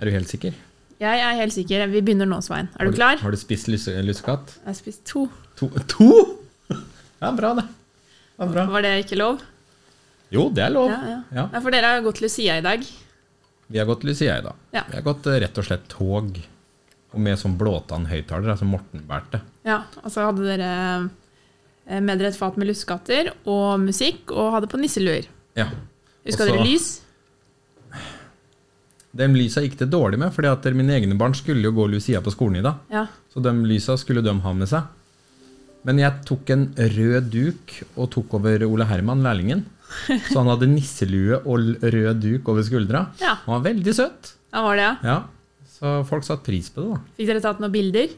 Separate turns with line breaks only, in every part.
Er du helt sikker?
Jeg er helt sikker. Vi begynner nå, Svein. Er du klar?
Har du spist lus lussekatt?
Jeg har spist to.
To? to? Ja, bra det. Ja, bra.
Var det ikke lov?
Jo, det er lov.
Ja, ja.
Ja.
ja for dere har gått Lucia i dag.
Vi har gått Lucia i dag.
Ja.
Vi har gått eh, rett og slett tog og med sånn blåtann høyttaler, altså Morten bærte.
Ja, og så hadde dere eh, med dere et fat med lussekatter og musikk, og hadde på nisseluer.
Ja. Og
Huska
så-
dere lys?
De lysa gikk det dårlig med, fordi at mine egne barn skulle jo gå Lucia på skolen i dag.
Ja.
Så de lysa skulle de ha med seg. Men jeg tok en rød duk og tok over Ole Herman, lærlingen. Så han hadde nisselue og l- rød duk over skuldra.
Ja.
Han var veldig søt.
ja, var det, ja.
Ja. Så folk satte pris på det, da.
Fikk dere tatt noen bilder?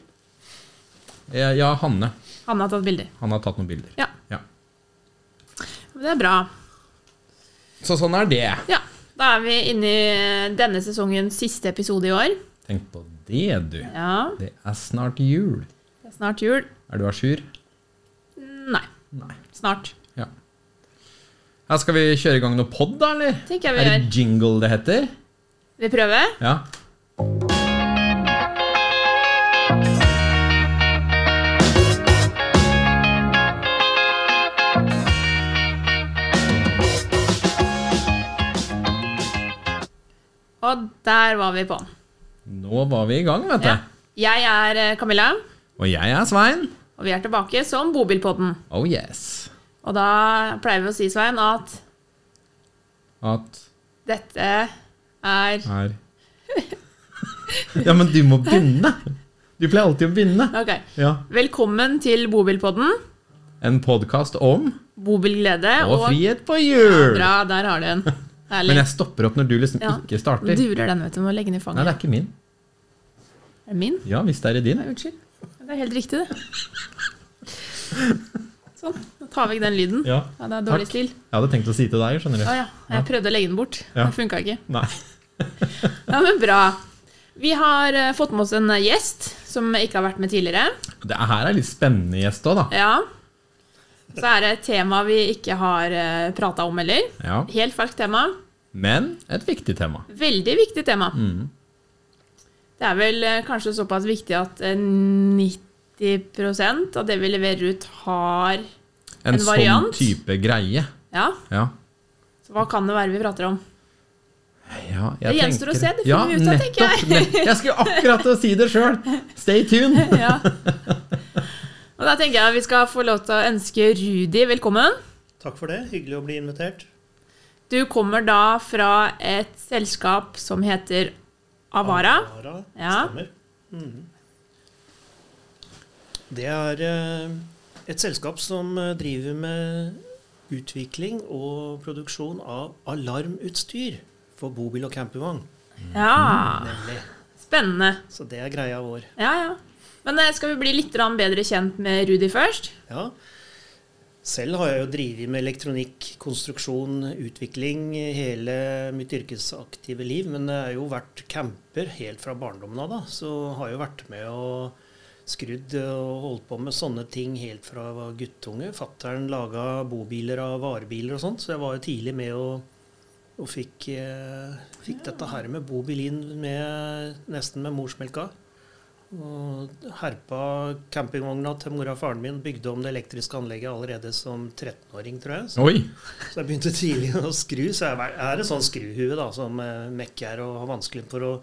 Eh, Ja, Hanne.
Hanne har tatt bilder.
Han har tatt noen bilder.
Ja,
Ja.
men det er bra.
Så sånn er det.
Ja, da er vi inne i eh, denne sesongens siste episode i år.
Tenk på det, du.
Ja,
Det er snart jul.
det er snart jul.
Er du à jour?
Nei,
Nei.
snart.
Ja. Her skal vi kjøre i gang noe pod, da, eller?
Tenker jeg vi
Er det jingle det heter?
Vi prøver.
Ja.
Og der var vi på.
Nå var vi i gang, vet du.
Ja. Jeg er eh, Camilla,
Og jeg er Svein.
og vi er tilbake som Bobilpodden.
Oh yes.
Og da pleier vi å si, Svein, at
At
dette er
er Ja, men du må begynne! Du pleier alltid å begynne.
Ok.
Ja.
Velkommen til Bobilpodden.
En podkast om
Bobilglede
og frihet på jul.
Bra, der har du den. Herlig.
men jeg stopper opp når du liksom
Ja.
ikke
Nå
starter.
durer den, vet du. Må legge den i
Nei,
fanget.
det er ikke min.
Er det min?
Ja, hvis det er i din.
Nei, unnskyld. Det er helt riktig, det. Sånn. Da tar vi vekk den lyden.
Ja.
Ja, det er dårlig
Takk.
stil.
Jeg hadde tenkt å si til deg, skjønner du.
Å ja. Jeg prøvde å legge den bort.
Ja.
Det funka ikke.
Nei.
Ja, men bra. Vi har eh, fått med oss en eh, gjest som ikke har vært med tidligere.
Det her er litt spennende gjest òg, da.
Ja. Så er det et tema vi ikke har uh, prata om heller.
Ja.
Helt ferskt tema.
Men et viktig tema.
Veldig viktig tema. Det er vel eh, kanskje såpass viktig at eh, 90 av det vi leverer ut, har
En,
En
sånn
variant?
type greie.
Ja,
Ja.
så hva kan det være vi prater om?
Ja,
Det gjenstår å se, det finner vi ut av, tenker jeg.
nettopp, nett- jeg skulle akkurat til å si det sjøl! Stay tuned!
Ja. Og da tenker jeg vi skal få lov til å ønske Rudi velkommen.
Takk for det. Hyggelig å bli invitert.
Du kommer da fra et selskap som heter Avara.
Avara,
Ja.
Stemmer. Mhm. Det er eh, et selskap som eh, driver med utvikling og produksjon av alarmutstyr for bobil og campingvogn.
Ja,
Nemlig.
Mm. spennende.
Så det er greia vår.
Ja, ja. Men eh, skal vi bli litt grann bedre kjent med Rudi først?
Ja. Selv har jeg jo drevet med elektronikk, konstruksjon, utvikling hele mitt yrkesaktive liv. Men jeg har jo vært camper helt fra barndommen av, da. Så har jeg jo vært med og skrudd og holdt på med sånne ting helt fra jeg var guttunge. Fattern laga bobiler av varebiler og sånt, så jeg var jo tidlig med og, og fikk, eh, fikk dette her med bobil inn med, nesten med morsmelka. Og herpa campingvogna til mora og faren min, bygde om det elektriske anlegget allerede som 13-åring, tror jeg. Så,
Oi!
så jeg begynte tidlig å skru. Så jeg er- er et sånn skruhue da, som eh, mekker og har vanskelig for å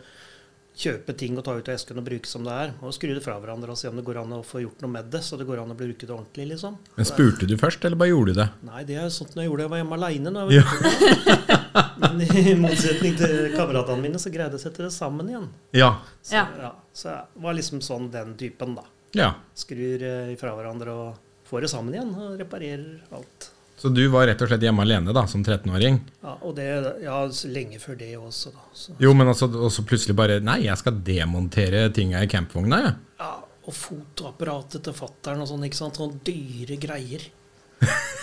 kjøpe ting og ta ut av esken og bruke som det er. Og skru det fra hverandre og se om det går an å få gjort noe med det, så det går an å bruke det ordentlig, liksom.
Men Spurte du først, eller bare gjorde du det?
Nei, det er jo sånt når jeg gjorde det jeg var hjemme aleine.
Ja.
Men i motsetning til kameratene mine, så greide jeg å sette det sammen igjen.
Ja.
Så,
Ja.
ja, så jeg var liksom sånn den typen, da
ja.
skrur eh, fra hverandre og får det sammen igjen og reparerer alt.
Så du var rett og slett hjemme alene da, som 13-åring?
Ja, og det ja, så lenge før det også, da. Så,
Jo, men altså, og så plutselig bare Nei, jeg skal demontere tinga i campvogna, jeg.
ja, og fotoapparatet til fattern og sånn, ikke sant. Sånne dyre greier.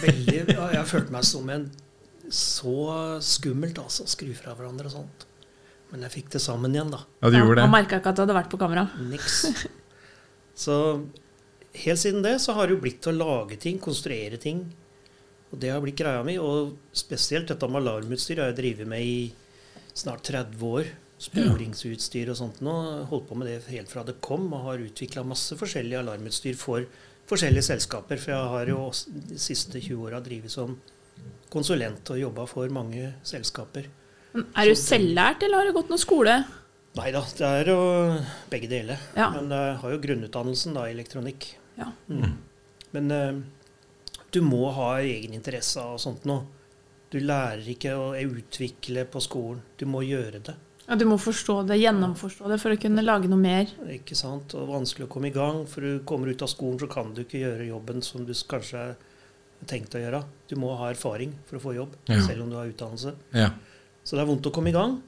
Veldig, ja, jeg følte meg som en så skummelt, altså. å Skru fra hverandre og sånt. Men jeg fikk det sammen igjen, da.
Ja, du gjorde
Han
det?
merka ikke at du hadde vært på kamera.
Niks. Så helt siden det så har det jo blitt til å lage ting, konstruere ting. Og det har blitt greia mi. Og spesielt dette med alarmutstyr har jeg drevet med i snart 30 år. sporingsutstyr og sånt nå. Holdt på med det helt fra det kom, og har utvikla masse forskjellig alarmutstyr for forskjellige selskaper. For jeg har jo også de siste 20 åra drevet som konsulent og jobba for mange selskaper.
Men
Sånn
Er du selvlært, eller har du gått noe skole?
Nei da, det er jo begge deler.
Ja.
Men jeg har jo grunnutdannelsen da i elektronikk. Mm.
Ja.
Men eh, du må ha egeninteresse og sånt nå. Du lærer ikke å utvikle på skolen. Du må gjøre det.
ja. Du må forstå det, gjennomforstå det, for å kunne lage noe mer.
Ikke sant? Og vanskelig å komme i gang, for du kommer ut av skolen, så kan du ikke gjøre jobben som du s- kanskje har tenkt å gjøre. Du må ha erfaring for å få jobb,
Ja.
selv om du har utdannelse.
Ja.
Så det er vondt å komme i gang.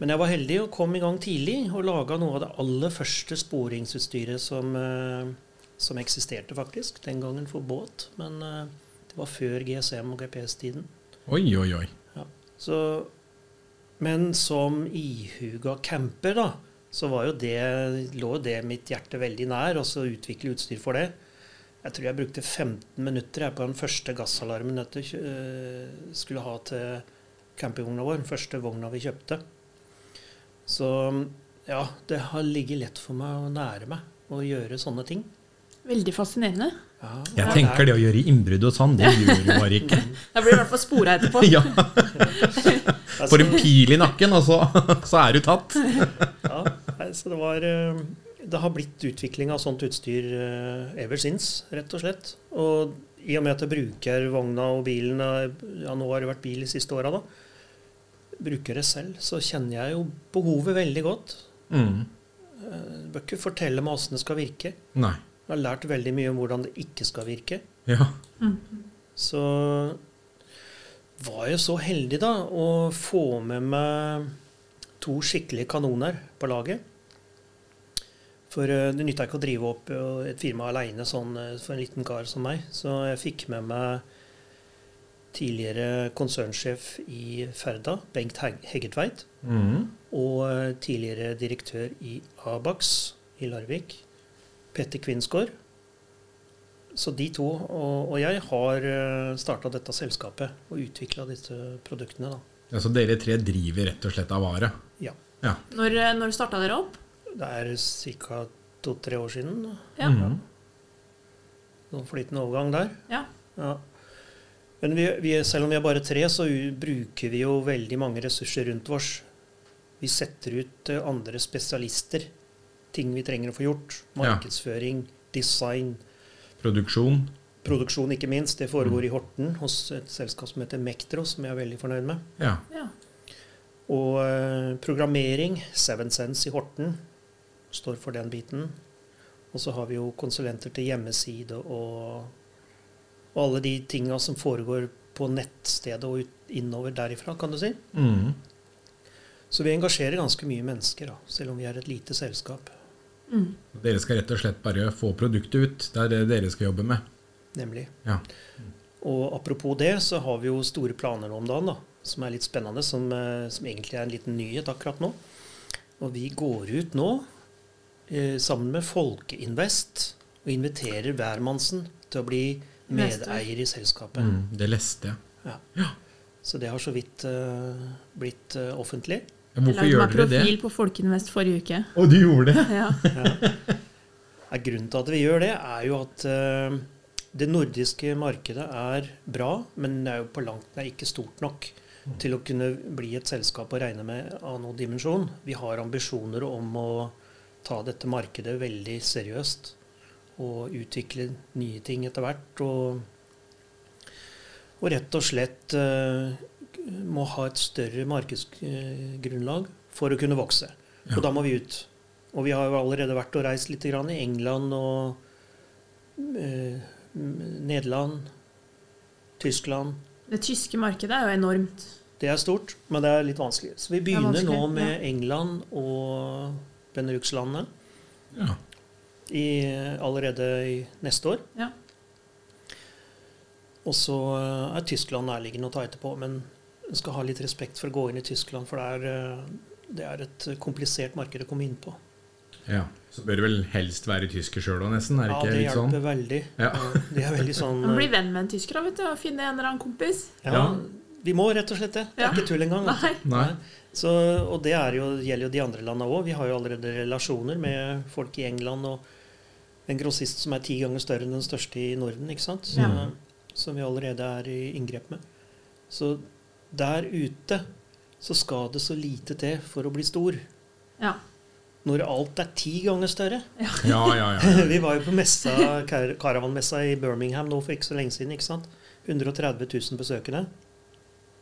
Men jeg var heldig og kom i gang tidlig og laga noe av det aller første sporingsutstyret som, eh, som eksisterte, faktisk. Den gangen for båt. Men eh, det var før GSM og GPS-tiden.
Oi, oi, oi.
Så, men som ihuga camper, da, så var jo det, lå jo det mitt hjerte veldig nær, og så utvikle utstyr for det. Jeg tror jeg brukte 15 minutter jeg, på den første gassalarmen jeg tu- øh, skulle ha til campingvogna vår. Den første vogna vi kjøpte. Så ja, det har ligget lett for meg å nære meg å gjøre sånne ting.
Veldig fascinerende.
Ja,
Jeg tenker det å gjøre innbrudd og sånn, det gjør du bare ikke.
Da blir det i hvert fall spora etterpå.
Ja,
Altså,
Får en pil i nakken, og så, så er du tatt.
Ja, nei, så det var eh, Det har blitt utvikling av sånt utstyr eh, ever since, rett og slett. Og i og med at jeg bruker vogna og bilen eh, Ja, nå har det vært bil de siste åra, da. Bruker det selv, så kjenner jeg jo behovet veldig godt.
Mm.
Du bør ikke fortelle meg åssen det skal virke.
Nei.
Jeg har lært veldig mye om hvordan det ikke skal virke.
Ja.
Så var jeg så heldig da å få med meg to skikkelige kanoner på laget. For eh, det nytta ikke å drive opp eh, et firma aleine sånn, eh, for en liten kar som meg. Så jeg fikk med meg tidligere konsernsjef i Ferda, Bengt Heg- Heggetveit
Mm.
og eh, tidligere direktør i Abax i Larvik, Petter Kvinsgaard. Så de to og, og jeg har starta dette selskapet og utvikla disse produktene. da.
Altså dere tre driver rett og slett av vare.
Ja,
Ja.
Når, eh, når starta dere opp?
Det er ca. to-tre år siden. da.
Ja.
Mhm.
Noen flytende overgang der.
ja.
Ja. Men vi, vi, selv om vi er bare tre, så u- bruker vi jo veldig mange ressurser rundt oss. Vi setter ut eh, andre spesialister. Ting vi trenger å få gjort.
Ja.
Markedsføring, design.
Produksjon.
Produksjon, ikke minst. Det foregår i Horten hos et selskap som heter Mektro, som jeg er veldig fornøyd med.
Ja.
ja.
Og eh, programmering, Seven Sense i Horten, står for den biten. Og så har vi jo konsulenter til hjemmeside og, og alle de tinga som foregår på nettstedet og ut, innover derifra, kan du si.
Mm.
Så vi engasjerer ganske mye mennesker, da, selv om vi er et lite selskap.
Mm.
Dere skal rett og slett bare få produktet ut. Det er det dere skal jobbe med.
Nemlig.
Ja.
Og apropos det, så har vi jo store planer nå om dagen, da, som er litt spennende, som, eh, som egentlig er en liten nyhet akkurat nå. Og vi går ut nå eh, sammen med Folkeinvest og inviterer hvermannsen til å bli
Investor.
medeier i selskapet.
Mm. Det leste jeg.
Ja. Så det har så vidt eh, blitt eh, offentlig.
Hvorfor
jeg
gjør
lagde
dere
meg
det?
profil på Folkeinvest forrige uke.
Å, du gjorde det?
Ja.
Ja, grunnen til at vi gjør det, er jo at eh, det nordiske markedet er bra, men det er jo på langt nær ikke stort nok til å kunne bli et selskap å regne med av noen dimensjon. Vi har ambisjoner om å ta dette markedet veldig seriøst og utvikle nye ting etter hvert. Og, og rett og slett eh, må ha et større markedsgrunnlag for å kunne vokse.
Ja.
Og da må vi ut. Og vi har jo allerede vært og reist litt grann i England og eh, Nederland, Tyskland.
Det tyske markedet er jo enormt.
Det er stort, men det er litt vanskelig. Så vi
er
begynner nå
vanskelig,
med England og Benelux-landene
Ja.
i- allerede i neste år.
Ja.
Og så eh, er Tyskland nærliggende å ta etterpå, men en skal ha litt respekt for å gå inn i Tyskland, for det er, eh, det er et komplisert marked å komme inn på.
ja. Så bør du vel helst være tysker sjøl òg, nesten? Er det
Ja,
ikke
det
litt sånn?
hjelper veldig.
Ja.
Det er veldig sånn
Man blir venn med en tysker da, vet du, og finner en eller annen kompis.
Ja,
Ja.
Vi må rett og slett det. Det er
Ja.
ikke tull engang. vet du.
Nei.
Så, og det er jo, gjelder jo de andre landene òg. Vi har jo allerede relasjoner med folk i England og en grossist som er ti ganger større enn den største i Norden, ikke sant? Så,
Ja.
som vi allerede er i inngrep med. Så der ute så skal det så lite til for å bli stor.
Ja.
Når alt er ti ganger større.
Ja, ja, ja.
Vi var jo på messa, kar karavanmessa i Birmingham nå for ikke så lenge siden. ikke sant? 130 000 besøkende.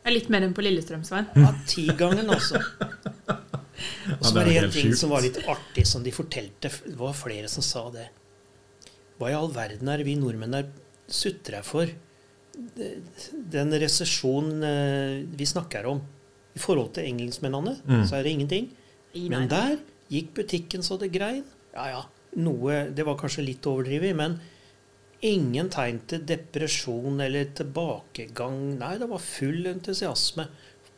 Det er litt mer enn på Lillestrøm, Svein.
Ja, tigangen, altså. Og
Ja,
så
det er
var det en
helt
ting
sjukt.
som var litt artig, som de fortalte. Det var flere som sa det. Hva i all verden er det vi nordmenn er sutra for? Den resesjonen eh, vi snakker om i forhold til engelskmennene,
Mm.
så er det ingenting.
I
Men
nærheten.
der gikk butikken så det grein. Ja, ja. Noe, det var kanskje litt overdrivet, men ingen tegn til depresjon eller tilbakegang. Nei, det var full entusiasme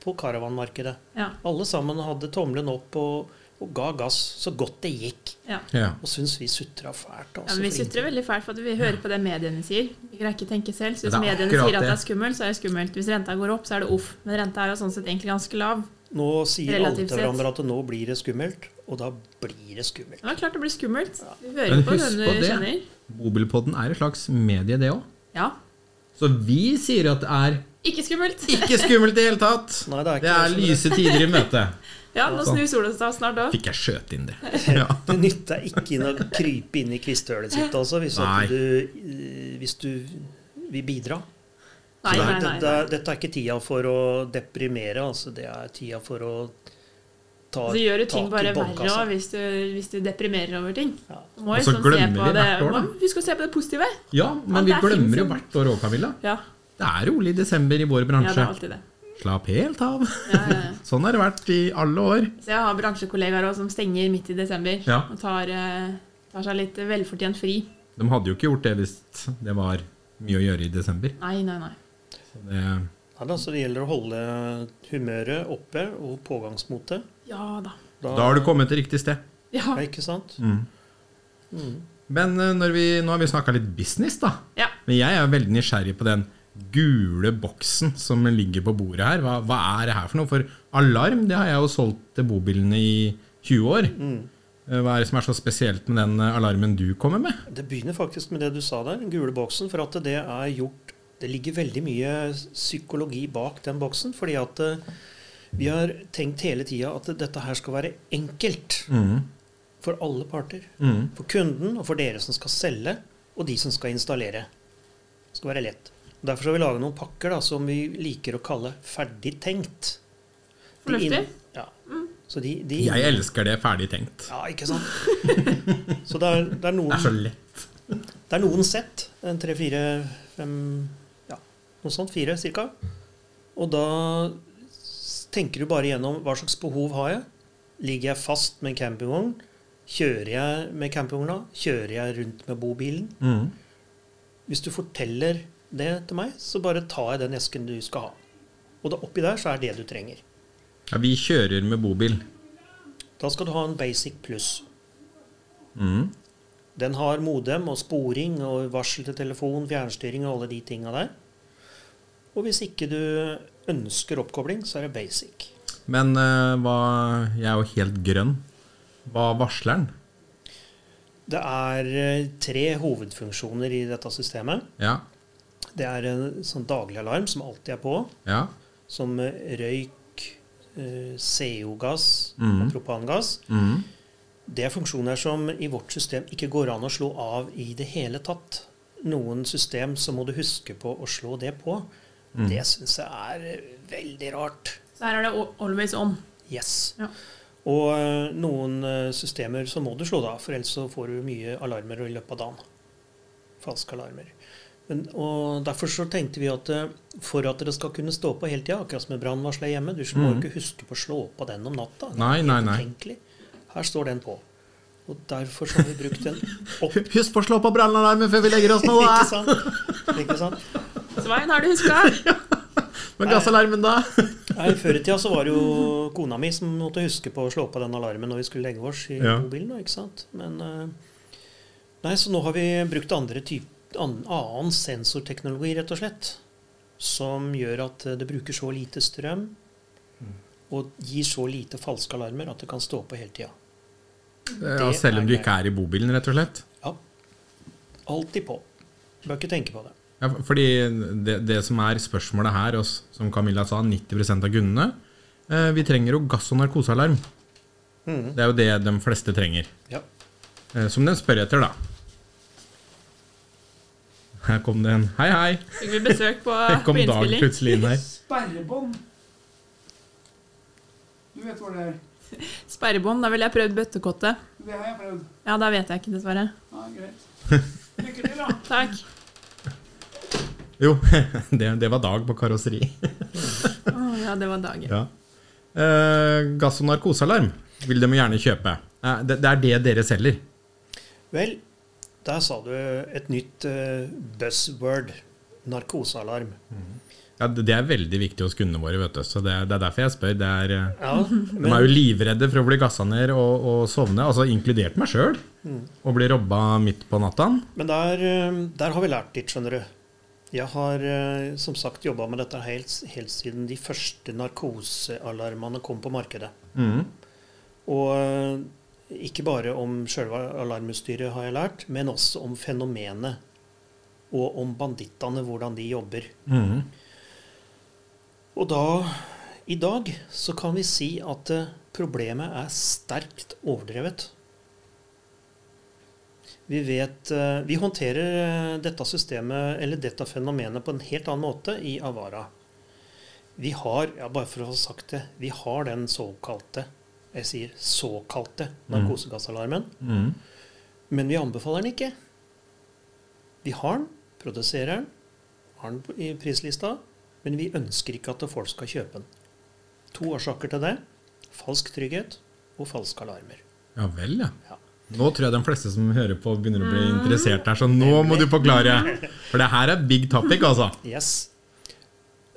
på karavanmarkedet.
Ja.
Alle sammen hadde tommelen opp og, og ga gass så godt det gikk.
ja.
ja.
Og syns vi sutra fælt.
Ja,
Altså,
men Vi
for
sutrer veldig fælt for at vi hører på det mediene sier. Vi greier ikke tenke selv, så Hvis
Det er
mediene
akkurat
sier at det er
det.
skummelt, så er det skummelt. Hvis renta går opp, så er det uff. Men renta er jo sånn sett egentlig ganske lav.
nå sier alle
Relativt
til
sett.
hverandre at nå blir det skummelt, og da blir det skummelt.
Det er klart det blir skummelt. Vi hører
Men
på
husk
den du
på det.
kjenner.
Bobilpodden er et slags medie, det òg.
Ja.
Så vi sier at det er
Ikke skummelt.
ikke skummelt i det hele tatt.
Nei, det er ikke
det er
det.
lyse tider i møte.
Ja, nå
Sånn.
snur sola seg snart òg.
Fikk jeg skjøt inn det. Ja.
Det nytter ikke inn å krype inn i kvisthølet sitt, altså, hvis,
Nei.
at du, eh, hvis du vil bidra.
Nei, nei, nei.
Dette, dette er ikke tida for å deprimere, altså. Det er tida for å ta
Så gjør jo ting
tak i
bare verre
båndkassa.
også hvis, du, hvis du deprimerer over ting.
Ja.
Du Må
Og så
liksom se
glemmer
på
vi
det-
hvert år, da.
Må- Vi skal se på det positive.
ja, men
Ja,
vi
det er
glemmer jo
fint.
hvert år òg, Camilla.
Ja,
Det er rolig i desember i vår
ja det er
bransje.
alltid det.
Slapp helt av.
Ja, ja, ja.
Sånn har det vært i alle år.
Så jeg har bransjekollegaer også som stenger midt i desember
Ja.
og tar, eh, tar seg litt velfortjent fri.
De hadde jo ikke gjort det hvis det var mye å gjøre i desember.
Nei, nei, nei.
Så det,
Ja, da, så det gjelder å holde humøret oppe og pågangsmotet.
Ja da.
da har du kommet til riktig sted.
Ja.
ja, Ikke sant?
Men eh, når vi, nå har vi snakka litt business, da.
ja.
Men jeg er veldig nysgjerrig på den gule boksen som ligger på bordet her. Hva, hva er det her for noe? For alarm det har jeg jo solgt til bobilene i 20 år. Eh, Hva er det som er så spesielt med den eh, alarmen du kommer med?
Det begynner faktisk med det du sa der, den gule boksen. For at det er gjort Det ligger veldig mye psykologi bak den boksen. Fordi at eh, vi har tenkt hele tida at dette her skal være enkelt for alle parter.
Mhm.
For kunden, og for dere som skal selge, og de som skal installere. Det skal være lett. Og Derfor skal vi lage noen pakker da, som vi liker å kalle ferdig tenkt. De inn-
Fornuftig.
Ja. Så de, de
Jeg elsker det ferdig tenkt.
Ja, ikke sant? Så det er, det er
Det
noen
er så lett.
det er noen sett. En tre, fire, fem Ja, noe sånt. Fire, cirka. Og da s- tenker du bare gjennom hva slags behov har jeg. Ligger jeg fast med en campingvogn? Kjører jeg med campingvogna? Kjører jeg rundt med bobilen?
Mhm.
Hvis du forteller det til meg, så bare tar jeg den esken du skal ha. Og da oppi der så er det du trenger.
Ja, vi kjører med bobil.
Da skal du ha en Basic Pluss.
Mhm.
Den har modem og sporing og varsel til telefon, fjernstyring og alle de tinga der. Og hvis ikke du ønsker oppkobling, så er det basic.
Men eh, hva, jeg er jo helt grønn. Hva varsler den?
Det er eh, tre hovedfunksjoner i dette systemet.
Ja,
Det er en sånn daglig alarm som alltid er på,
ja,
som eh, røyk, eh, CO-gass
Mhm.
og propangass.
mhm.
Det er funksjoner som i vårt system ikke går an å slå av i det hele tatt. Noen system så må du huske på å slå det på. Det syns jeg er eh, veldig rart.
Så her er det al- always on.
Yes.
Ja.
Og eh, noen eh, systemer så må du slå det av, for ellers så får du mye alarmer i løpet av dagen. Falske alarmer. Men, og Derfor så tenkte vi at eh, for at det skal kunne stå på hele tida, akkurat som med brannvarsler hjemme Du må jo ikke huske på å slå på den om natta. Det er
Mm. Nei,
helt
nei, nei.
utenkelig. Her står den på. Og derfor så har vi brukt den opp.
Husk på å slå på brannalarmen før vi legger oss nå, da!
Ikke sant? Ikke sant?
Svein, har du huska?
Men gassalarmen, da?
Nei, Før i tida så var det jo kona mi som måtte huske på å slå på den alarmen når vi skulle legge oss i
Ja.
mobilen. da, ikke sant? Men eh, Nei, så nå har vi brukt andre typ, an, annen sensorteknologi, rett og slett. som gjør at eh, det bruker så lite strøm
Mm.
og gir så lite falske alarmer at det kan stå på hele tida.
Ja, selv om du ikke er i bobilen, rett og slett?
Ja. Alltid på. Bør ikke tenke på det.
Ja, fordi det, det som er spørsmålet her, og s- som Camilla sa, 90 av kundene eh, Vi trenger jo gass- og narkosealarm. Det er jo det de fleste trenger.
Ja.
Eh, som de spør etter, da. Her kom det en Hei, hei!
Fikk vi besøk på,
Her
på
kom Dag
Ah, innspilling?
plutselig inn her.
Sperrebånd. Du vet hvor det er.
Sperrebånd. Da ville jeg prøvd bøttekottet.
Det har jeg prøvd.
Ja, da vet jeg ikke, dessverre.
Ja, greit. Lykke til, da.
Takk.
Jo, det, det var Dag på karosseri.
Å, ja, det var dagen.
Ja. Eh, gass- og narkosealarm vil de jo gjerne kjøpe. Eh, det, det er det dere selger.
Vel, der sa du et nytt eh, buzzword. Narkosealarm.
Ja, det, det er veldig viktig hos kundene våre, vet du. Så det, det er derfor jeg spør. Det er eh,
Ja,
De er
men
jo livredde for å bli gassa ned og, og sovne, altså inkludert meg sjøl. Og bli robba midt på natta.
men der, eh, der har vi lært litt, skjønner du. Jeg har eh, som sagt jobba med dette helt, helt siden de første narkosealarmene kom på markedet. Og eh, ikke bare om sjølve alarmutstyret har jeg lært, men også om fenomenet. Og om bandittene, hvordan de jobber.
Mhm.
Og da, i dag, så kan vi si at eh, problemet er sterkt overdrevet. Vi vet eh, Vi håndterer eh, dette systemet, eller dette fenomenet, på en helt annen måte i Avara. Vi har, ja, bare for å ha sagt det, vi har den såkalte, jeg sier såkalte, narkosegassalarmen.
Mhm.
Men vi anbefaler den ikke. Vi har den, produserer den, har den i prislista, men vi ønsker ikke at folk skal kjøpe den. To årsaker til det. Falsk trygghet og falske alarmer.
Ja vel, ja. Mm.
Ja.
Nå tror jeg de fleste som hører på, begynner å bli interessert her, så nå må du forklare. For det her er big topic, altså.
Yes.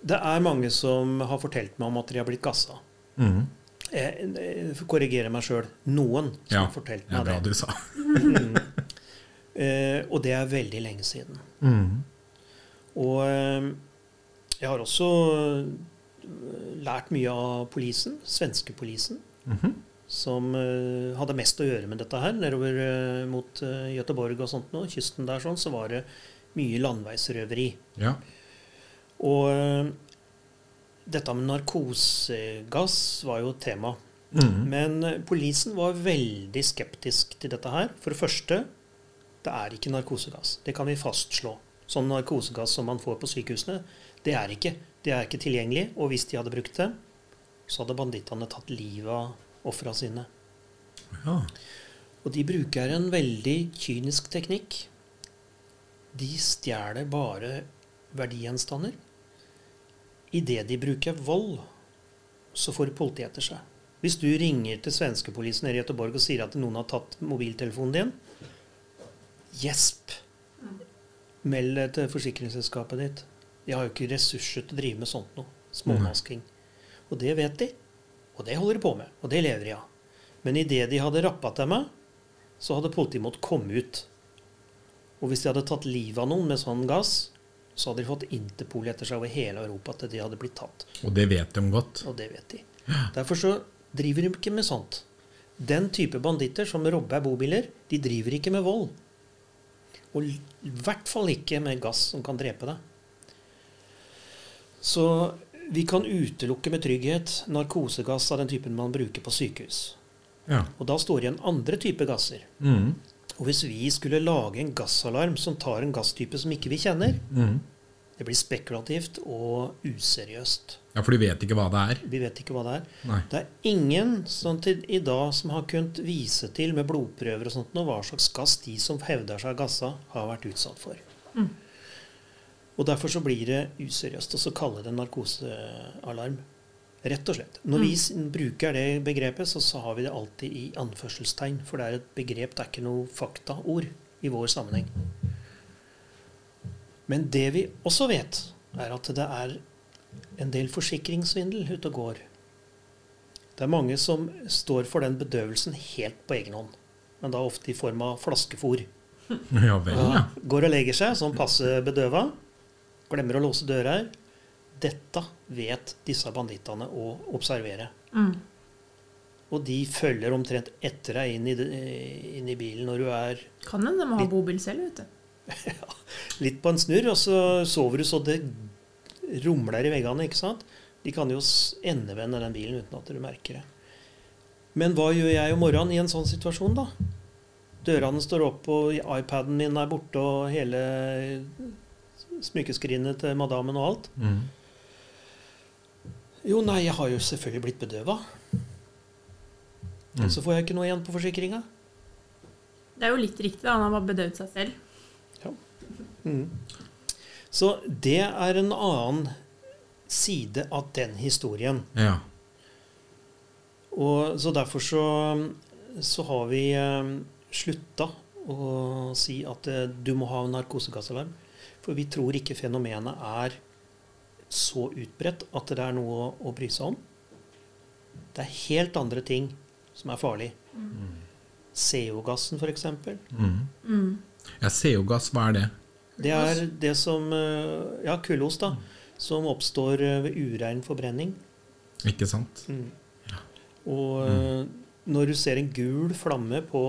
Det er mange som har fortalt meg om at de har blitt gassa.
Mhm.
Jeg, jeg korrigerer meg sjøl. Noen som
Ja,
har
det
fortalt
er
meg
bra
det. Mm.
du sa.
Eh, og det er veldig lenge siden.
Mhm.
Og eh, jeg har også eh, lært mye av polisen, svenske polisen,
Mhm.
som eh, hadde mest å gjøre med dette her. Nedover eh, mot eh, Gøteborg og sånt nå, kysten der sånn, så var det mye landveisrøveri.
Ja.
Og eh, dette med narkosegass var jo tema.
Mhm.
Men eh, polisen var veldig skeptisk til dette her. For det første, det er ikke narkosegass. Det kan vi fastslå. Sånn narkosegass som man får på sykehusene, det er ikke. Det er ikke tilgjengelig. Og hvis de hadde brukt det, så hadde bandittene tatt livet av ofra sine.
ja.
Og de bruker en veldig kynisk teknikk. De stjeler bare verdigjenstander. Idet de bruker vold, så får politiet etter seg. Hvis du ringer til svenskepolisen nede i Göteborg og sier at noen har tatt mobiltelefonen din, gjesp! Meld det til forsikringsselskapet ditt. De har jo ikke ressurser til å drive med sånt noe. Småmasking. Og det vet de. Og det holder de på med. Og det lever de av. Men idet de hadde rappa til meg, så hadde politiet måttet komme ut. Og hvis de hadde tatt livet av noen med sånn gass, så hadde de fått Interpol etter seg over hele Europa til de hadde blitt tatt.
Og det vet de godt.
Og det vet de. Derfor så driver de ikke med sånt. Den type banditter som robber bobiler, de driver ikke med vold. Og l- i hvert fall ikke med gass som kan drepe deg. Så vi kan utelukke med trygghet narkosegass av den typen man bruker på sykehus.
Ja.
Og da står igjen andre typer gasser.
Mhm.
Og hvis vi skulle lage en gassalarm som tar en gasstype som ikke vi kjenner,
Mhm.
det blir spekulativt og useriøst.
ja, for du vet ikke hva det er.
Vi vet ikke hva det er.
Nei.
Det er ingen som til i dag som har kunnet vise til med blodprøver og sånt noe, hva slags gass de som hevder seg gassa, har vært utsatt for. Og derfor så blir det useriøst å så kalle det narkosealarm. Rett og slett. Når vi s- bruker det begrepet, så, så har vi det alltid i anførselstegn. For det er et begrep, det er ikke noe faktaord i vår sammenheng. Men det vi også vet, er at det er en del forsikringssvindel ute og går. Det er mange som står for den bedøvelsen helt på egen hånd. Men da ofte i form av flaskefôr.
Ja vel, ja.
Går og legger seg, sånn passe bedøva. Glemmer å låse dører. Dette vet disse bandittene å observere.
Mm.
Og de følger omtrent etter deg inn i, det- eh, inn i bilen når du er
Kan hende de har bobil selv, vet du.
litt på en snurr, og så sover du så det rumler i veggene, ikke sant? De kan jo s- endevende den bilen uten at du merker det. Men hva gjør jeg om morgenen i en sånn situasjon, da? Dørene står oppe, og iPaden min er borte, og hele smykkeskrinet til madammen og alt.
Mm.
Jo, nei, jeg har jo selvfølgelig blitt bedøva. Men så får jeg ikke noe igjen på forsikringa.
Det er jo litt riktig, da. Han har bare bedøvd seg selv.
Mm. Så det er en annen side av den historien.
Ja.
Og så derfor så, så har vi eh, slutta å si at eh, du må ha en narkosegassalarm. For vi tror ikke fenomenet er så utbredt at det er noe å, å bry seg om. Det er helt andre ting som er farlig. CO-gassen, f.eks.
Mm.
Mm.
ja. CO-gass, hva er det?
Det er det som eh, Ja, kullos, da. Som oppstår eh, ved urein forbrenning.
Ikke sant?
Mm. Og eh, når du ser en gul flamme på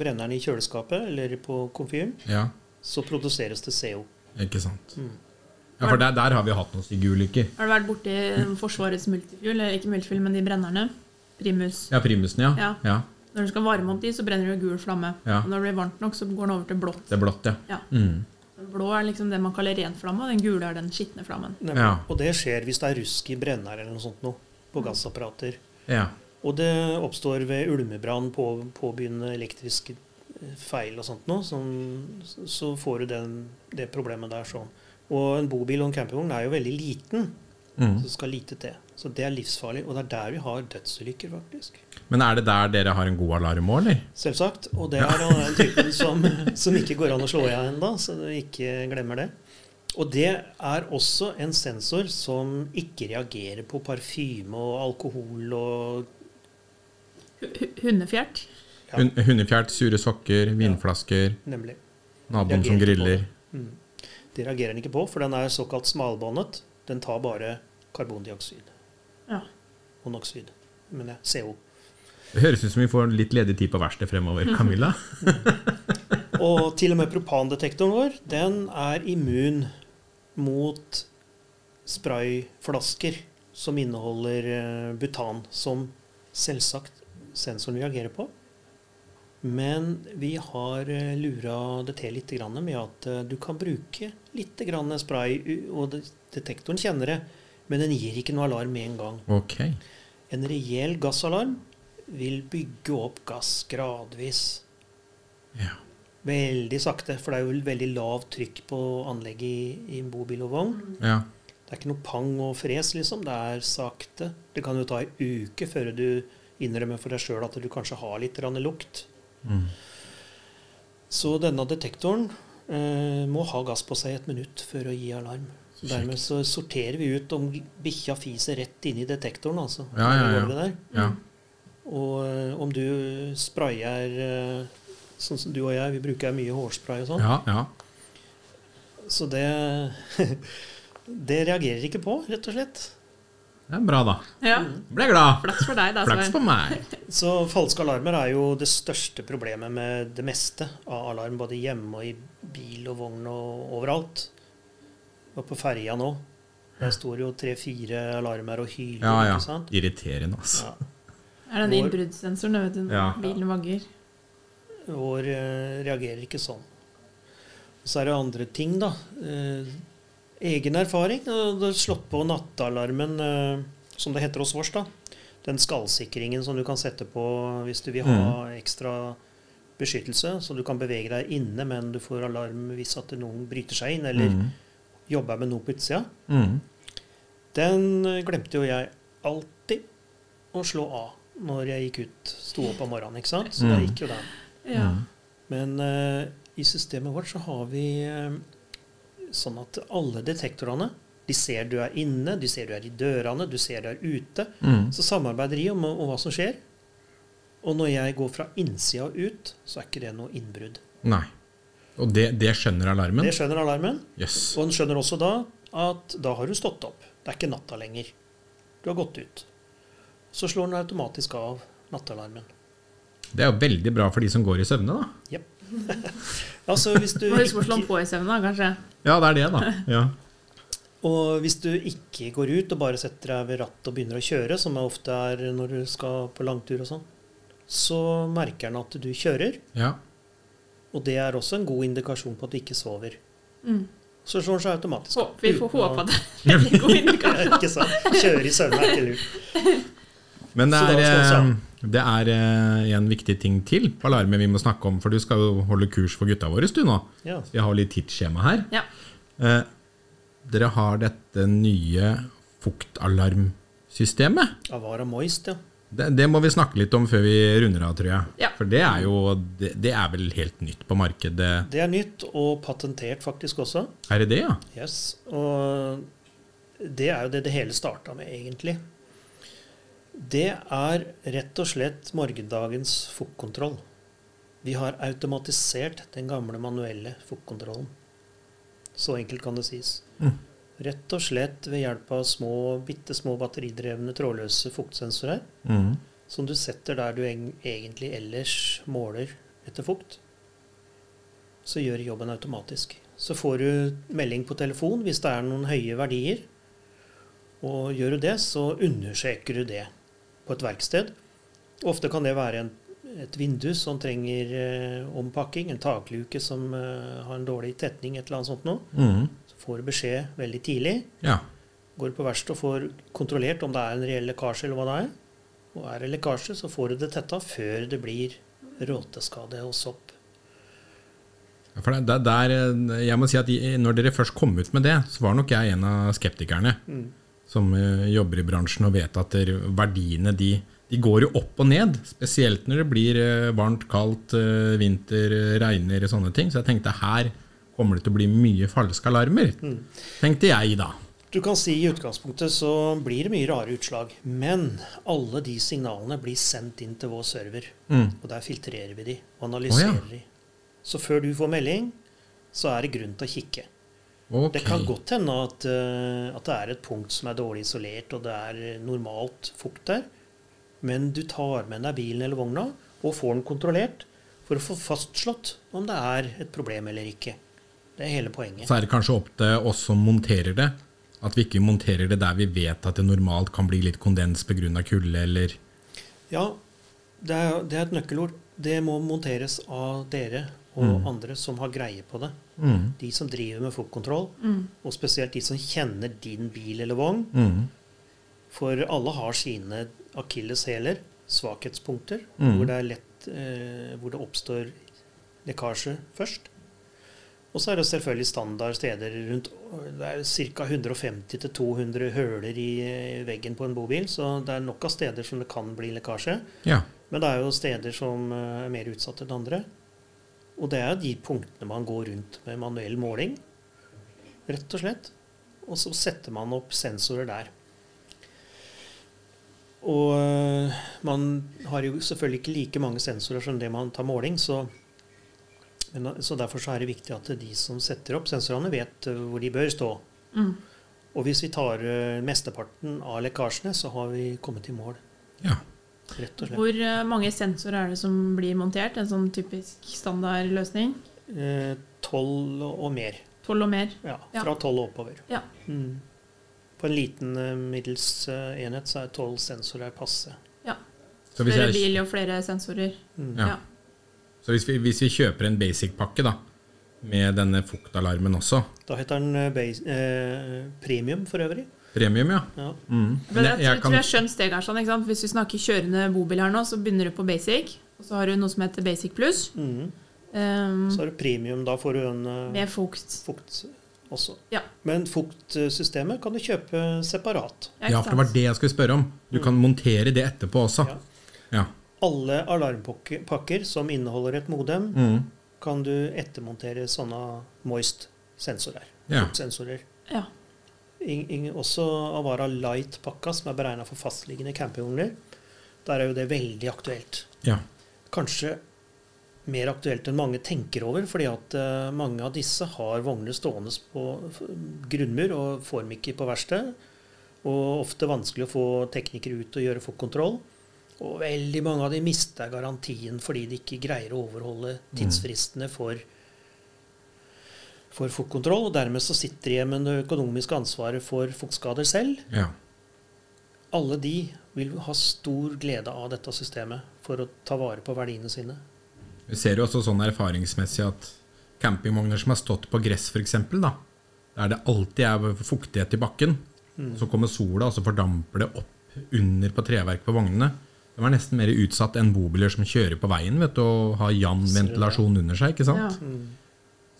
brenneren i kjøleskapet eller på komfyren,
Ja,
så produseres det CO.
ikke sant.
Mm.
Ja, For der, der har vi hatt noen stygge ulykker.
Har du vært borti Forsvarets multifuel, eller ikke multifuel, men de brennerne? Primus.
Ja, primusen, ja.
Ja.
ja.
Når du skal varme opp de, så brenner det gul flamme.
Ja.
Og når det blir varmt nok, så går den over til blått.
Det er blått, ja.
Ja.
Mm.
Den blå er liksom det man kaller ren flamme, og den gule er den skitne flammen.
Nemlig.
Ja.
Og det skjer hvis det er rusk i brenner eller noe sånt noe, på gassapparater.
ja.
Og det oppstår ved ulmebrann, på, påbegynnende elektriske eh, feil og sånt noe, som, så får du den, det problemet der sånn. Og en bobil og en campingvogn er jo veldig liten,
Mm.
så det skal lite til. Så det er livsfarlig, og det er der vi har dødsulykker, faktisk.
Men er det der dere har en god alarm òg, eller?
Selvsagt. Og det er den typen som, som ikke går an å slå i av ennå, så du ikke glemmer det. Og det er også en sensor som ikke reagerer på parfyme og alkohol og
Hu- hu- Hundefjert.
Ja.
Hun- Hundefjert, sure sokker, vinflasker,
Nemlig.
naboen som
Reagerer ikke på
griller.
Mm. Det reagerer den ikke på, for den er såkalt smalbåndet. Den tar bare karbondioksid.
Ja.
Monoksid. Men det er CO.
Det høres ut som vi får litt ledig tid på verkstedet fremover, Camilla.
Og til og med propandetektoren vår, den er immun mot sprayflasker som inneholder eh, butan, som selvsagt sensoren reagerer på. Men vi har eh, lura det til litt grann med at eh, du kan bruke litt grann spray, u- og det- detektoren kjenner det, men den gir ikke noe alarm med en gang.
Ok.
En reell gassalarm vil bygge opp gass gradvis.
Ja.
Veldig sakte, for det er jo veldig lavt trykk på anlegget i, i bobil og vogn.
ja.
Det er ikke noe pang og fres, liksom. Det er sakte. Det kan jo ta ei uke før du innrømmer for deg sjøl at du kanskje har litt grann lukt.
Mm.
Så denne detektoren eh, må ha gass på seg et minutt før å gi alarm. Så dermed så sorterer vi ut om bikkja fiser rett inn i detektoren, altså.
Ja, ja, ja.
Det der.
Mm.
ja.
Og eh, om du sprayer eh, sånn som du og jeg, vi bruker mye hårspray og sånn.
Ja, ja.
Så det Det reagerer ikke på, rett og slett.
Det er bra, da.
Ja.
Ble glad.
Flaks altså. for deg, da.
Mm. Flaks
Svein.
for meg.
Så falske alarmer er jo det største problemet med det meste av alarm, både hjemme og i bil og vogn og overalt. Og på ferja nå. Der står jo tre-fire alarmer og hyler,
Ja, ja.
ikke sant?
Irriterende, altså.
Ja.
Er den innbruddssensoren, vet du, når
Ja.
bilen vagger.
Vår eh, reagerer ikke sånn. Og så er det andre ting, da. Eh, egen erfaring. og Det er slått på nattalarmen, eh, som det heter hos oss, da. Den skallsikringen som du kan sette på hvis du vil ha
Mm.
ekstra beskyttelse. Så du kan bevege deg inne, men du får alarm hvis at noen bryter seg inn eller
Mm.
jobber med noe på utsida.
Mm.
Den eh, glemte jo jeg alltid å slå av når jeg gikk ut. Sto opp om morgenen, ikke sant. Så da
Mm.
gikk jo den.
Ja.
Mm.
Men eh, i systemet vårt så har vi eh, sånn at alle detektorene De ser du er inne, de ser du er i dørene, du ser du er ute.
Mm.
Så samarbeider de om, om hva som skjer. Og når jeg går fra innsida og ut, så er ikke det noe innbrudd.
Nei. Og det, det skjønner alarmen?
Det skjønner alarmen.
Jøss.
Og den skjønner også da at da har du stått opp. Det er ikke natta lenger. Du har gått ut. Så slår den automatisk av nattalarmen.
Det er jo veldig bra for de som går i søvne, da.
Altså, hvis du
Må huske å slå
ikke-
den på i søvne, kanskje.
Ja, det er det, da. Ja.
Og hvis du ikke går ut og bare setter deg ved rattet og begynner å kjøre, som det ofte er når du skal på langtur og sånn, så merker den at du kjører,
Ja.
og det er også en god indikasjon på at du ikke sover.
Mm.
Så slår den seg automatisk.
Hå- Vi får
Uten å-
håpe at det er en god indikasjon.
ikke sant? Kjøre i søvne er ikke lurt.
Men det er,
Så da slår det seg
eh, det er eh, en viktig ting til på alarmen vi må snakke om, for du skal jo holde kurs for gutta våre du nå.
Ja.
Vi har litt tidsskjema her.
Ja.
Eh, dere har dette nye fuktalarmsystemet.
Avara Moist, ja.
Det, det må vi snakke litt om før vi runder av, tror jeg.
Ja.
For det er jo det, det er vel helt nytt på markedet.
Det er nytt og patentert faktisk også.
Er det det, ja?
Yes, og det er jo det det hele starta med, egentlig. Det er rett og slett morgendagens fuktkontroll. Vi har automatisert den gamle manuelle fuktkontrollen. Så enkelt kan det sies.
Mm.
Rett og slett ved hjelp av små, bitte små batteridrevne trådløse fuktsensorer
Mm.
som du setter der du eng- egentlig ellers måler etter fukt, så gjør jobben automatisk. Så får du melding på telefon hvis det er noen høye verdier. Og gjør du det, så undersøker du det på et verksted. Ofte kan det være en, et vindu som trenger eh, ompakking, en takluke som eh, har en dårlig tetning, et eller annet sånt noe.
Mm.
Så får du beskjed veldig tidlig
Ja.
går på verkstedet og får kontrollert om det er en reell lekkasje eller hva det er. Og er det lekkasje, så får du det tetta før det blir råteskade og sopp.
For det, det, det er, jeg må si at i- når dere først kom ut med det, så var nok jeg en av skeptikerne
Mm.
som eh, jobber i bransjen og vet at der, verdiene de, de går jo opp og ned. Spesielt når det blir eh, varmt, kaldt, eh, vinter, eh, regner og sånne ting. Så jeg tenkte her kommer det til å bli mye falske alarmer.
Mm.
Tenkte jeg da.
Du kan si i utgangspunktet så blir det mye rare utslag, men alle de signalene blir sendt inn til vår server,
Mm.
og der filtrerer vi de og analyserer
Å,
de. Så før du får melding, så er det grunn til å kikke.
Ok.
Det kan godt hende at, eh, at det er et punkt som er dårlig isolert, og det er eh, normalt fukt der. Men du tar med deg bilen eller vogna og får den kontrollert for å få fastslått om det er et problem eller ikke. Det er hele poenget.
Så er det kanskje opp til oss som monterer det, at vi ikke monterer det der vi vet at det normalt kan bli litt kondens pga. kulde, eller
Ja, det er, det er et nøkkelord. Det må monteres av dere og andre som har greie på det.
mm,
De som driver med fuktkontroll,
Mm.
og spesielt de som kjenner din bil eller vogn.
mm,
For alle har sine akilleshæler, svakhetspunkter,
Mm.
hvor det er lett eh, Hvor det oppstår lekkasje først. Og så er det selvfølgelig standard steder rundt Det er ca. 150-200 høler i eh, veggen på en bobil, så det er nok av steder som det kan bli lekkasje.
Ja.
Men det er jo steder som eh, er mer utsatt enn andre. Og det er de punktene man går rundt med manuell måling, rett og slett. Og så setter man opp sensorer der. Og eh, man har jo selvfølgelig ikke like mange sensorer som det man tar måling, så, men, eh, så derfor så er det viktig at de som setter opp sensorene, vet eh, hvor de bør stå.
Mm.
Og hvis vi tar eh, mesteparten av lekkasjene, så har vi kommet i mål,
ja.
rett og slett.
Hvor eh, mange sensorer er det som blir montert? En sånn typisk standardløsning?
Eh, Tolv og mer.
Tolv og mer?
Ja,
Ja.
fra tolv og oppover.
Ja.
Mm. På en liten eh, middels eh, enhet så er tolv sensorer passe.
Så hvis,
Flere
jeg,
bil og flere sensorer.
Mm.
Ja. så hvis, vi, hvis vi kjøper en basic-pakke da, med denne fuktalarmen også,
Da heter den eh, base, eh, premium for øvrig.
premium, ja.
Ja.
Mm.
Men jeg, tror-
kan-
tror jeg skjønner steget her. Sånn, ikke sant? Hvis du snakker kjørende bobil her nå, så begynner du på basic. Og så har du noe som heter basic pluss.
Mm.
ehm,
Så er det premium. Da får du en eh,
med fukt.
fukt også.
Ja.
Men fuktsystemet kan du kjøpe separat.
ja,
ikke
for det var
sant? Mm.
det jeg skulle spørre om. Du kan montere det etterpå også.
Ja.
Ja.
Alle alarmpakker som inneholder et modem,
Mm.
kan du ettermontere sånne moist-sensorer.
Ja.
Sensorer.
Ja.
Ing, ing, også Avara Light-pakka, som er beregna for fastliggende campingvogner. Der er jo det veldig aktuelt.
ja.
Kanskje mer aktuelt enn mange tenker over, fordi at eh, mange av disse har vogner stående på f- grunnmur og får dem ikke på verksted. Og ofte vanskelig å få teknikere ut og gjøre fokkontroll. Og veldig mange av de mister garantien fordi de ikke greier å overholde tidsfristene for for fokkontroll, og dermed så sitter de igjen med det økonomiske ansvaret for fuktskader selv.
Ja.
Alle de vil ha stor glede av dette systemet for å ta vare på verdiene sine.
Vi ser jo også sånn erfaringsmessig at campingvogner som har stått på gress, f.eks., da, der det alltid er fuktighet i bakken,
Mm.
så kommer sola, og så fordamper det opp under på treverket på vognene. De er nesten mer utsatt enn bobiler som kjører på veien vet du, og har jevn
Ser du det?
ventilasjon under seg. ikke
Ja.
sant?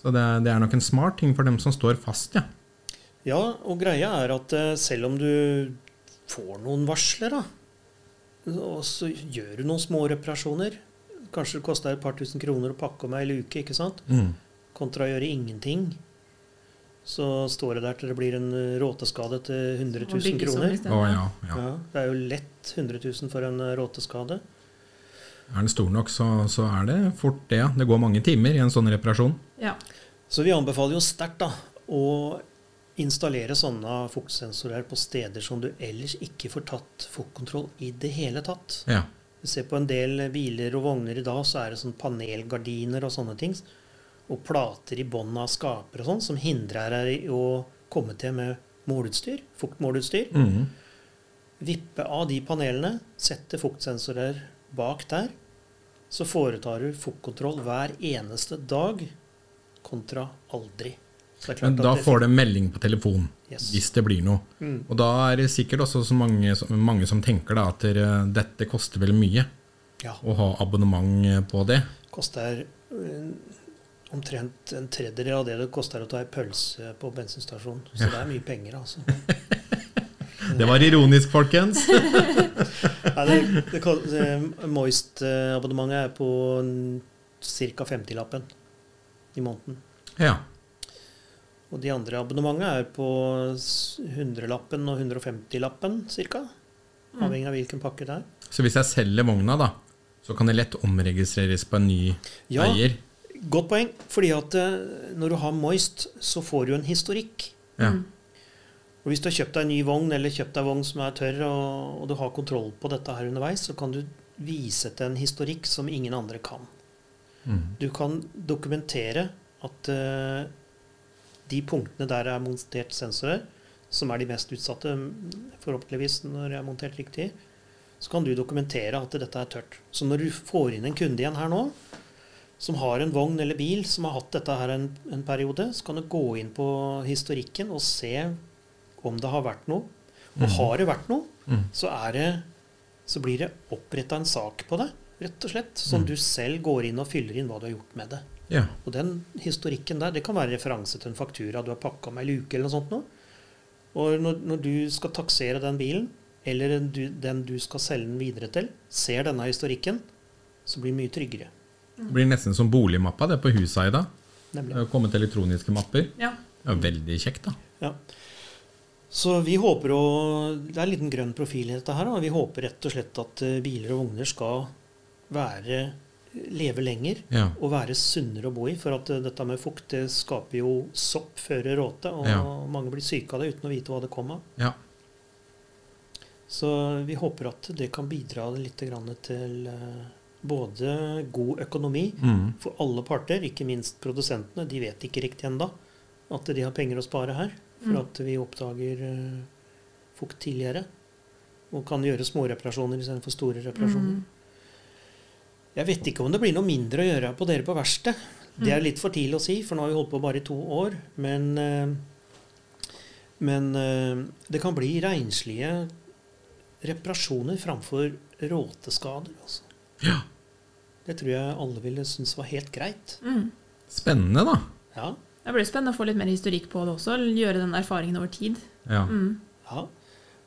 Så det, er- det er nok en smart ting for dem som står fast, ja.
Ja, og greia er at eh, selv om du får noen varsler, da, og så gjør du noen små reparasjoner Kanskje det koster et par tusen kroner å pakke om ei luke, ikke sant? kontra å gjøre ingenting. Så står det der til det blir en eh, råteskade til 100
Og
000
bygges opp
kroner.
isteden.
Å ja, ja.
Ja, det er jo lett 100 000 for en eh, råteskade.
Er den stor nok, så, så er det fort det. ja. Det går mange timer i en sånn reparasjon.
Ja.
Så vi anbefaler jo sterkt da, å installere sånne fuktsensorer på steder som du ellers ikke får tatt fuktkontroll i det hele tatt.
Ja.
Vi ser på en del biler og vogner i dag, så er det sånn panelgardiner og sånne ting. Og plater i bånn av skaper og sånn, som hindrer deg i å komme til med måleutstyr, fuktmåleutstyr.
Mhm.
Vippe av de panelene, sette fuktsensorer bak der. Så foretar du fuktkontroll hver eneste dag kontra aldri. Så det er klart
Men da
at det-
får de melding på telefon
Yes. Mm.
hvis det blir noe. Og da er det sikkert også så mange, som- mange som tenker da at dere, dette koster vel mye
Ja,
å ha abonnement på det.
koster eh, omtrent en tredjedel av det det koster å ta ei pølse på bensinstasjonen. Så det er mye penger, altså.
Det var ironisk, folkens.
Nei, det, det, kal- det Moist-abonnementet er på ca. 50-lappen i måneden.
Ja.
Og de andre abonnementene er på s- 100-lappen og 150-lappen ca. Avhengig av hvilken pakke det er.
Så hvis jeg selger vogna, da, så kan det lett omregistreres på en ny
Ja.
eier.
Godt poeng, fordi at eh, når du har Moist, så får du en historikk.
Ja.
Mm.
Og hvis du har kjøpt deg en ny vogn, eller kjøpt deg en vogn som er tørr, og, og du har kontroll på dette her underveis, så kan du vise til en historikk som ingen andre kan.
Mhm.
Du kan dokumentere at eh, de punktene der det er montert sensorer, som er de mest utsatte, mm, forhåpentligvis når det er montert riktig, så kan du dokumentere at dette er tørt. Så når du får inn en kunde igjen her nå, som har en vogn eller bil som har hatt dette her en, en periode, så kan du gå inn på historikken og se om det har vært noe. Og har det vært noe,
Mhm.
så, er det, så blir det oppretta en sak på det, rett og slett. Som du selv går inn og fyller inn hva du har gjort med det.
ja.
Og den historikken der, det kan være referanse til en faktura du har pakka med ei luke eller noe sånt noe. Og når, når du skal taksere den bilen, eller den du, den du skal selge den videre til, ser denne historikken, så blir det mye tryggere.
Det blir nesten som boligmappa det på husa i dag. Det
Nemlig.
har kommet elektroniske mapper.
ja.
Det er veldig kjekt, da.
Ja. Så vi håper å Det er en liten grønn profil i dette her. Og vi håper rett og slett at eh, biler og vogner skal være leve lenger
Ja.
og være sunnere å bo i. For at eh, dette med fukt det skaper jo sopp før råte, og
Ja.
mange blir syke av det uten å vite hva det kom av.
ja.
Så vi håper at det kan bidra litt grann til eh, både god økonomi
Mhm.
for alle parter, ikke minst produsentene. De vet ikke riktig ennå at de har penger å spare her. For
Mm.
at vi oppdager eh, fukt tidligere. Og kan gjøre små reparasjoner istedenfor store reparasjoner.
Mm.
Jeg vet ikke om det blir noe mindre å gjøre på dere på verkstedet. Det er litt for tidlig å si, for nå har vi holdt på bare i to år. Men, eh, men eh, det kan bli renslige reparasjoner framfor råteskader. Altså.
ja.
Det tror jeg alle ville synes var helt greit.
Mm.
Spennende, da.
Ja,
Det blir spennende å få litt mer historikk på det også. Gjøre den erfaringen over tid.
Ja.
Mm.
Ja,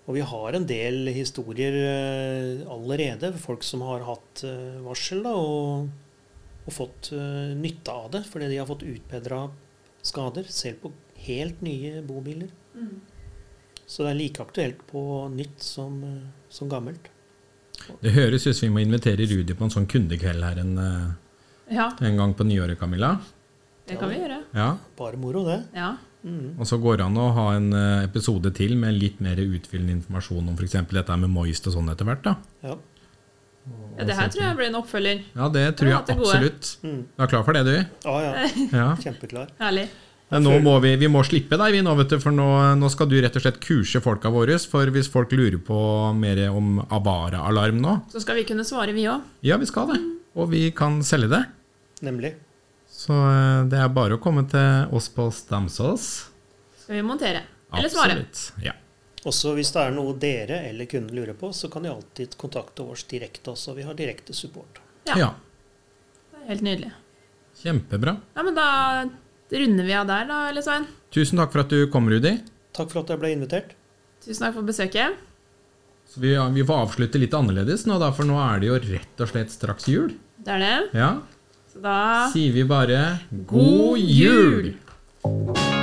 og vi har en del historier eh, allerede. Folk som har hatt eh, varsel da, og, og fått eh, nytte av det fordi de har fått utbedra skader. Selv på helt nye bobiler.
Mm.
Så det er like aktuelt på nytt som, eh, som gammelt.
Det høres ut som vi må invitere Rudi på en sånn kundekveld her en, eh,
Ja,
en gang på nyåret, Camilla.
det kan vi gjøre.
Ja.
Bare moro, det.
Ja.
Og så går det an å ha en eh, episode til med litt mer utfyllende informasjon om f.eks. dette med Moist og sånn etter hvert. da.
Ja.
Ja, det her tror jeg blir en oppfølger.
Ja, det tror
Ja,
jeg
det gode.
absolutt.
Mm.
Du er klar for det, du?
Ja, ja.
Ja.
Kjempeklar.
Herlig.
Men nå må vi, vi må slippe deg, vi nå, vet du, for nå, nå skal du rett og slett kurse folka våre. For hvis folk lurer på mer om Abara-alarm nå
Så skal vi kunne svare, vi òg.
Ja, vi skal det. Og vi kan selge det.
Nemlig.
Så eh, det er bare å komme til oss på Stamsås.
Skal vi montere. Eller svare.
Absolutt. Ja.
Også hvis det er noe dere eller kunden lurer på, så kan de alltid kontakte oss direkte også. Vi har direkte support.
Ja.
ja.
Det er Helt nydelig.
Kjempebra.
Ja, men da runder vi av der, da, eller Svein.
Tusen takk for at du kom, Rudi.
Takk for at jeg ble invitert.
Tusen takk for besøket.
Så vi, vi får avslutte litt annerledes nå, da, for nå er det jo rett og slett straks jul.
Det er det.
Ja.
Så da
Sier vi bare god jul!
jul!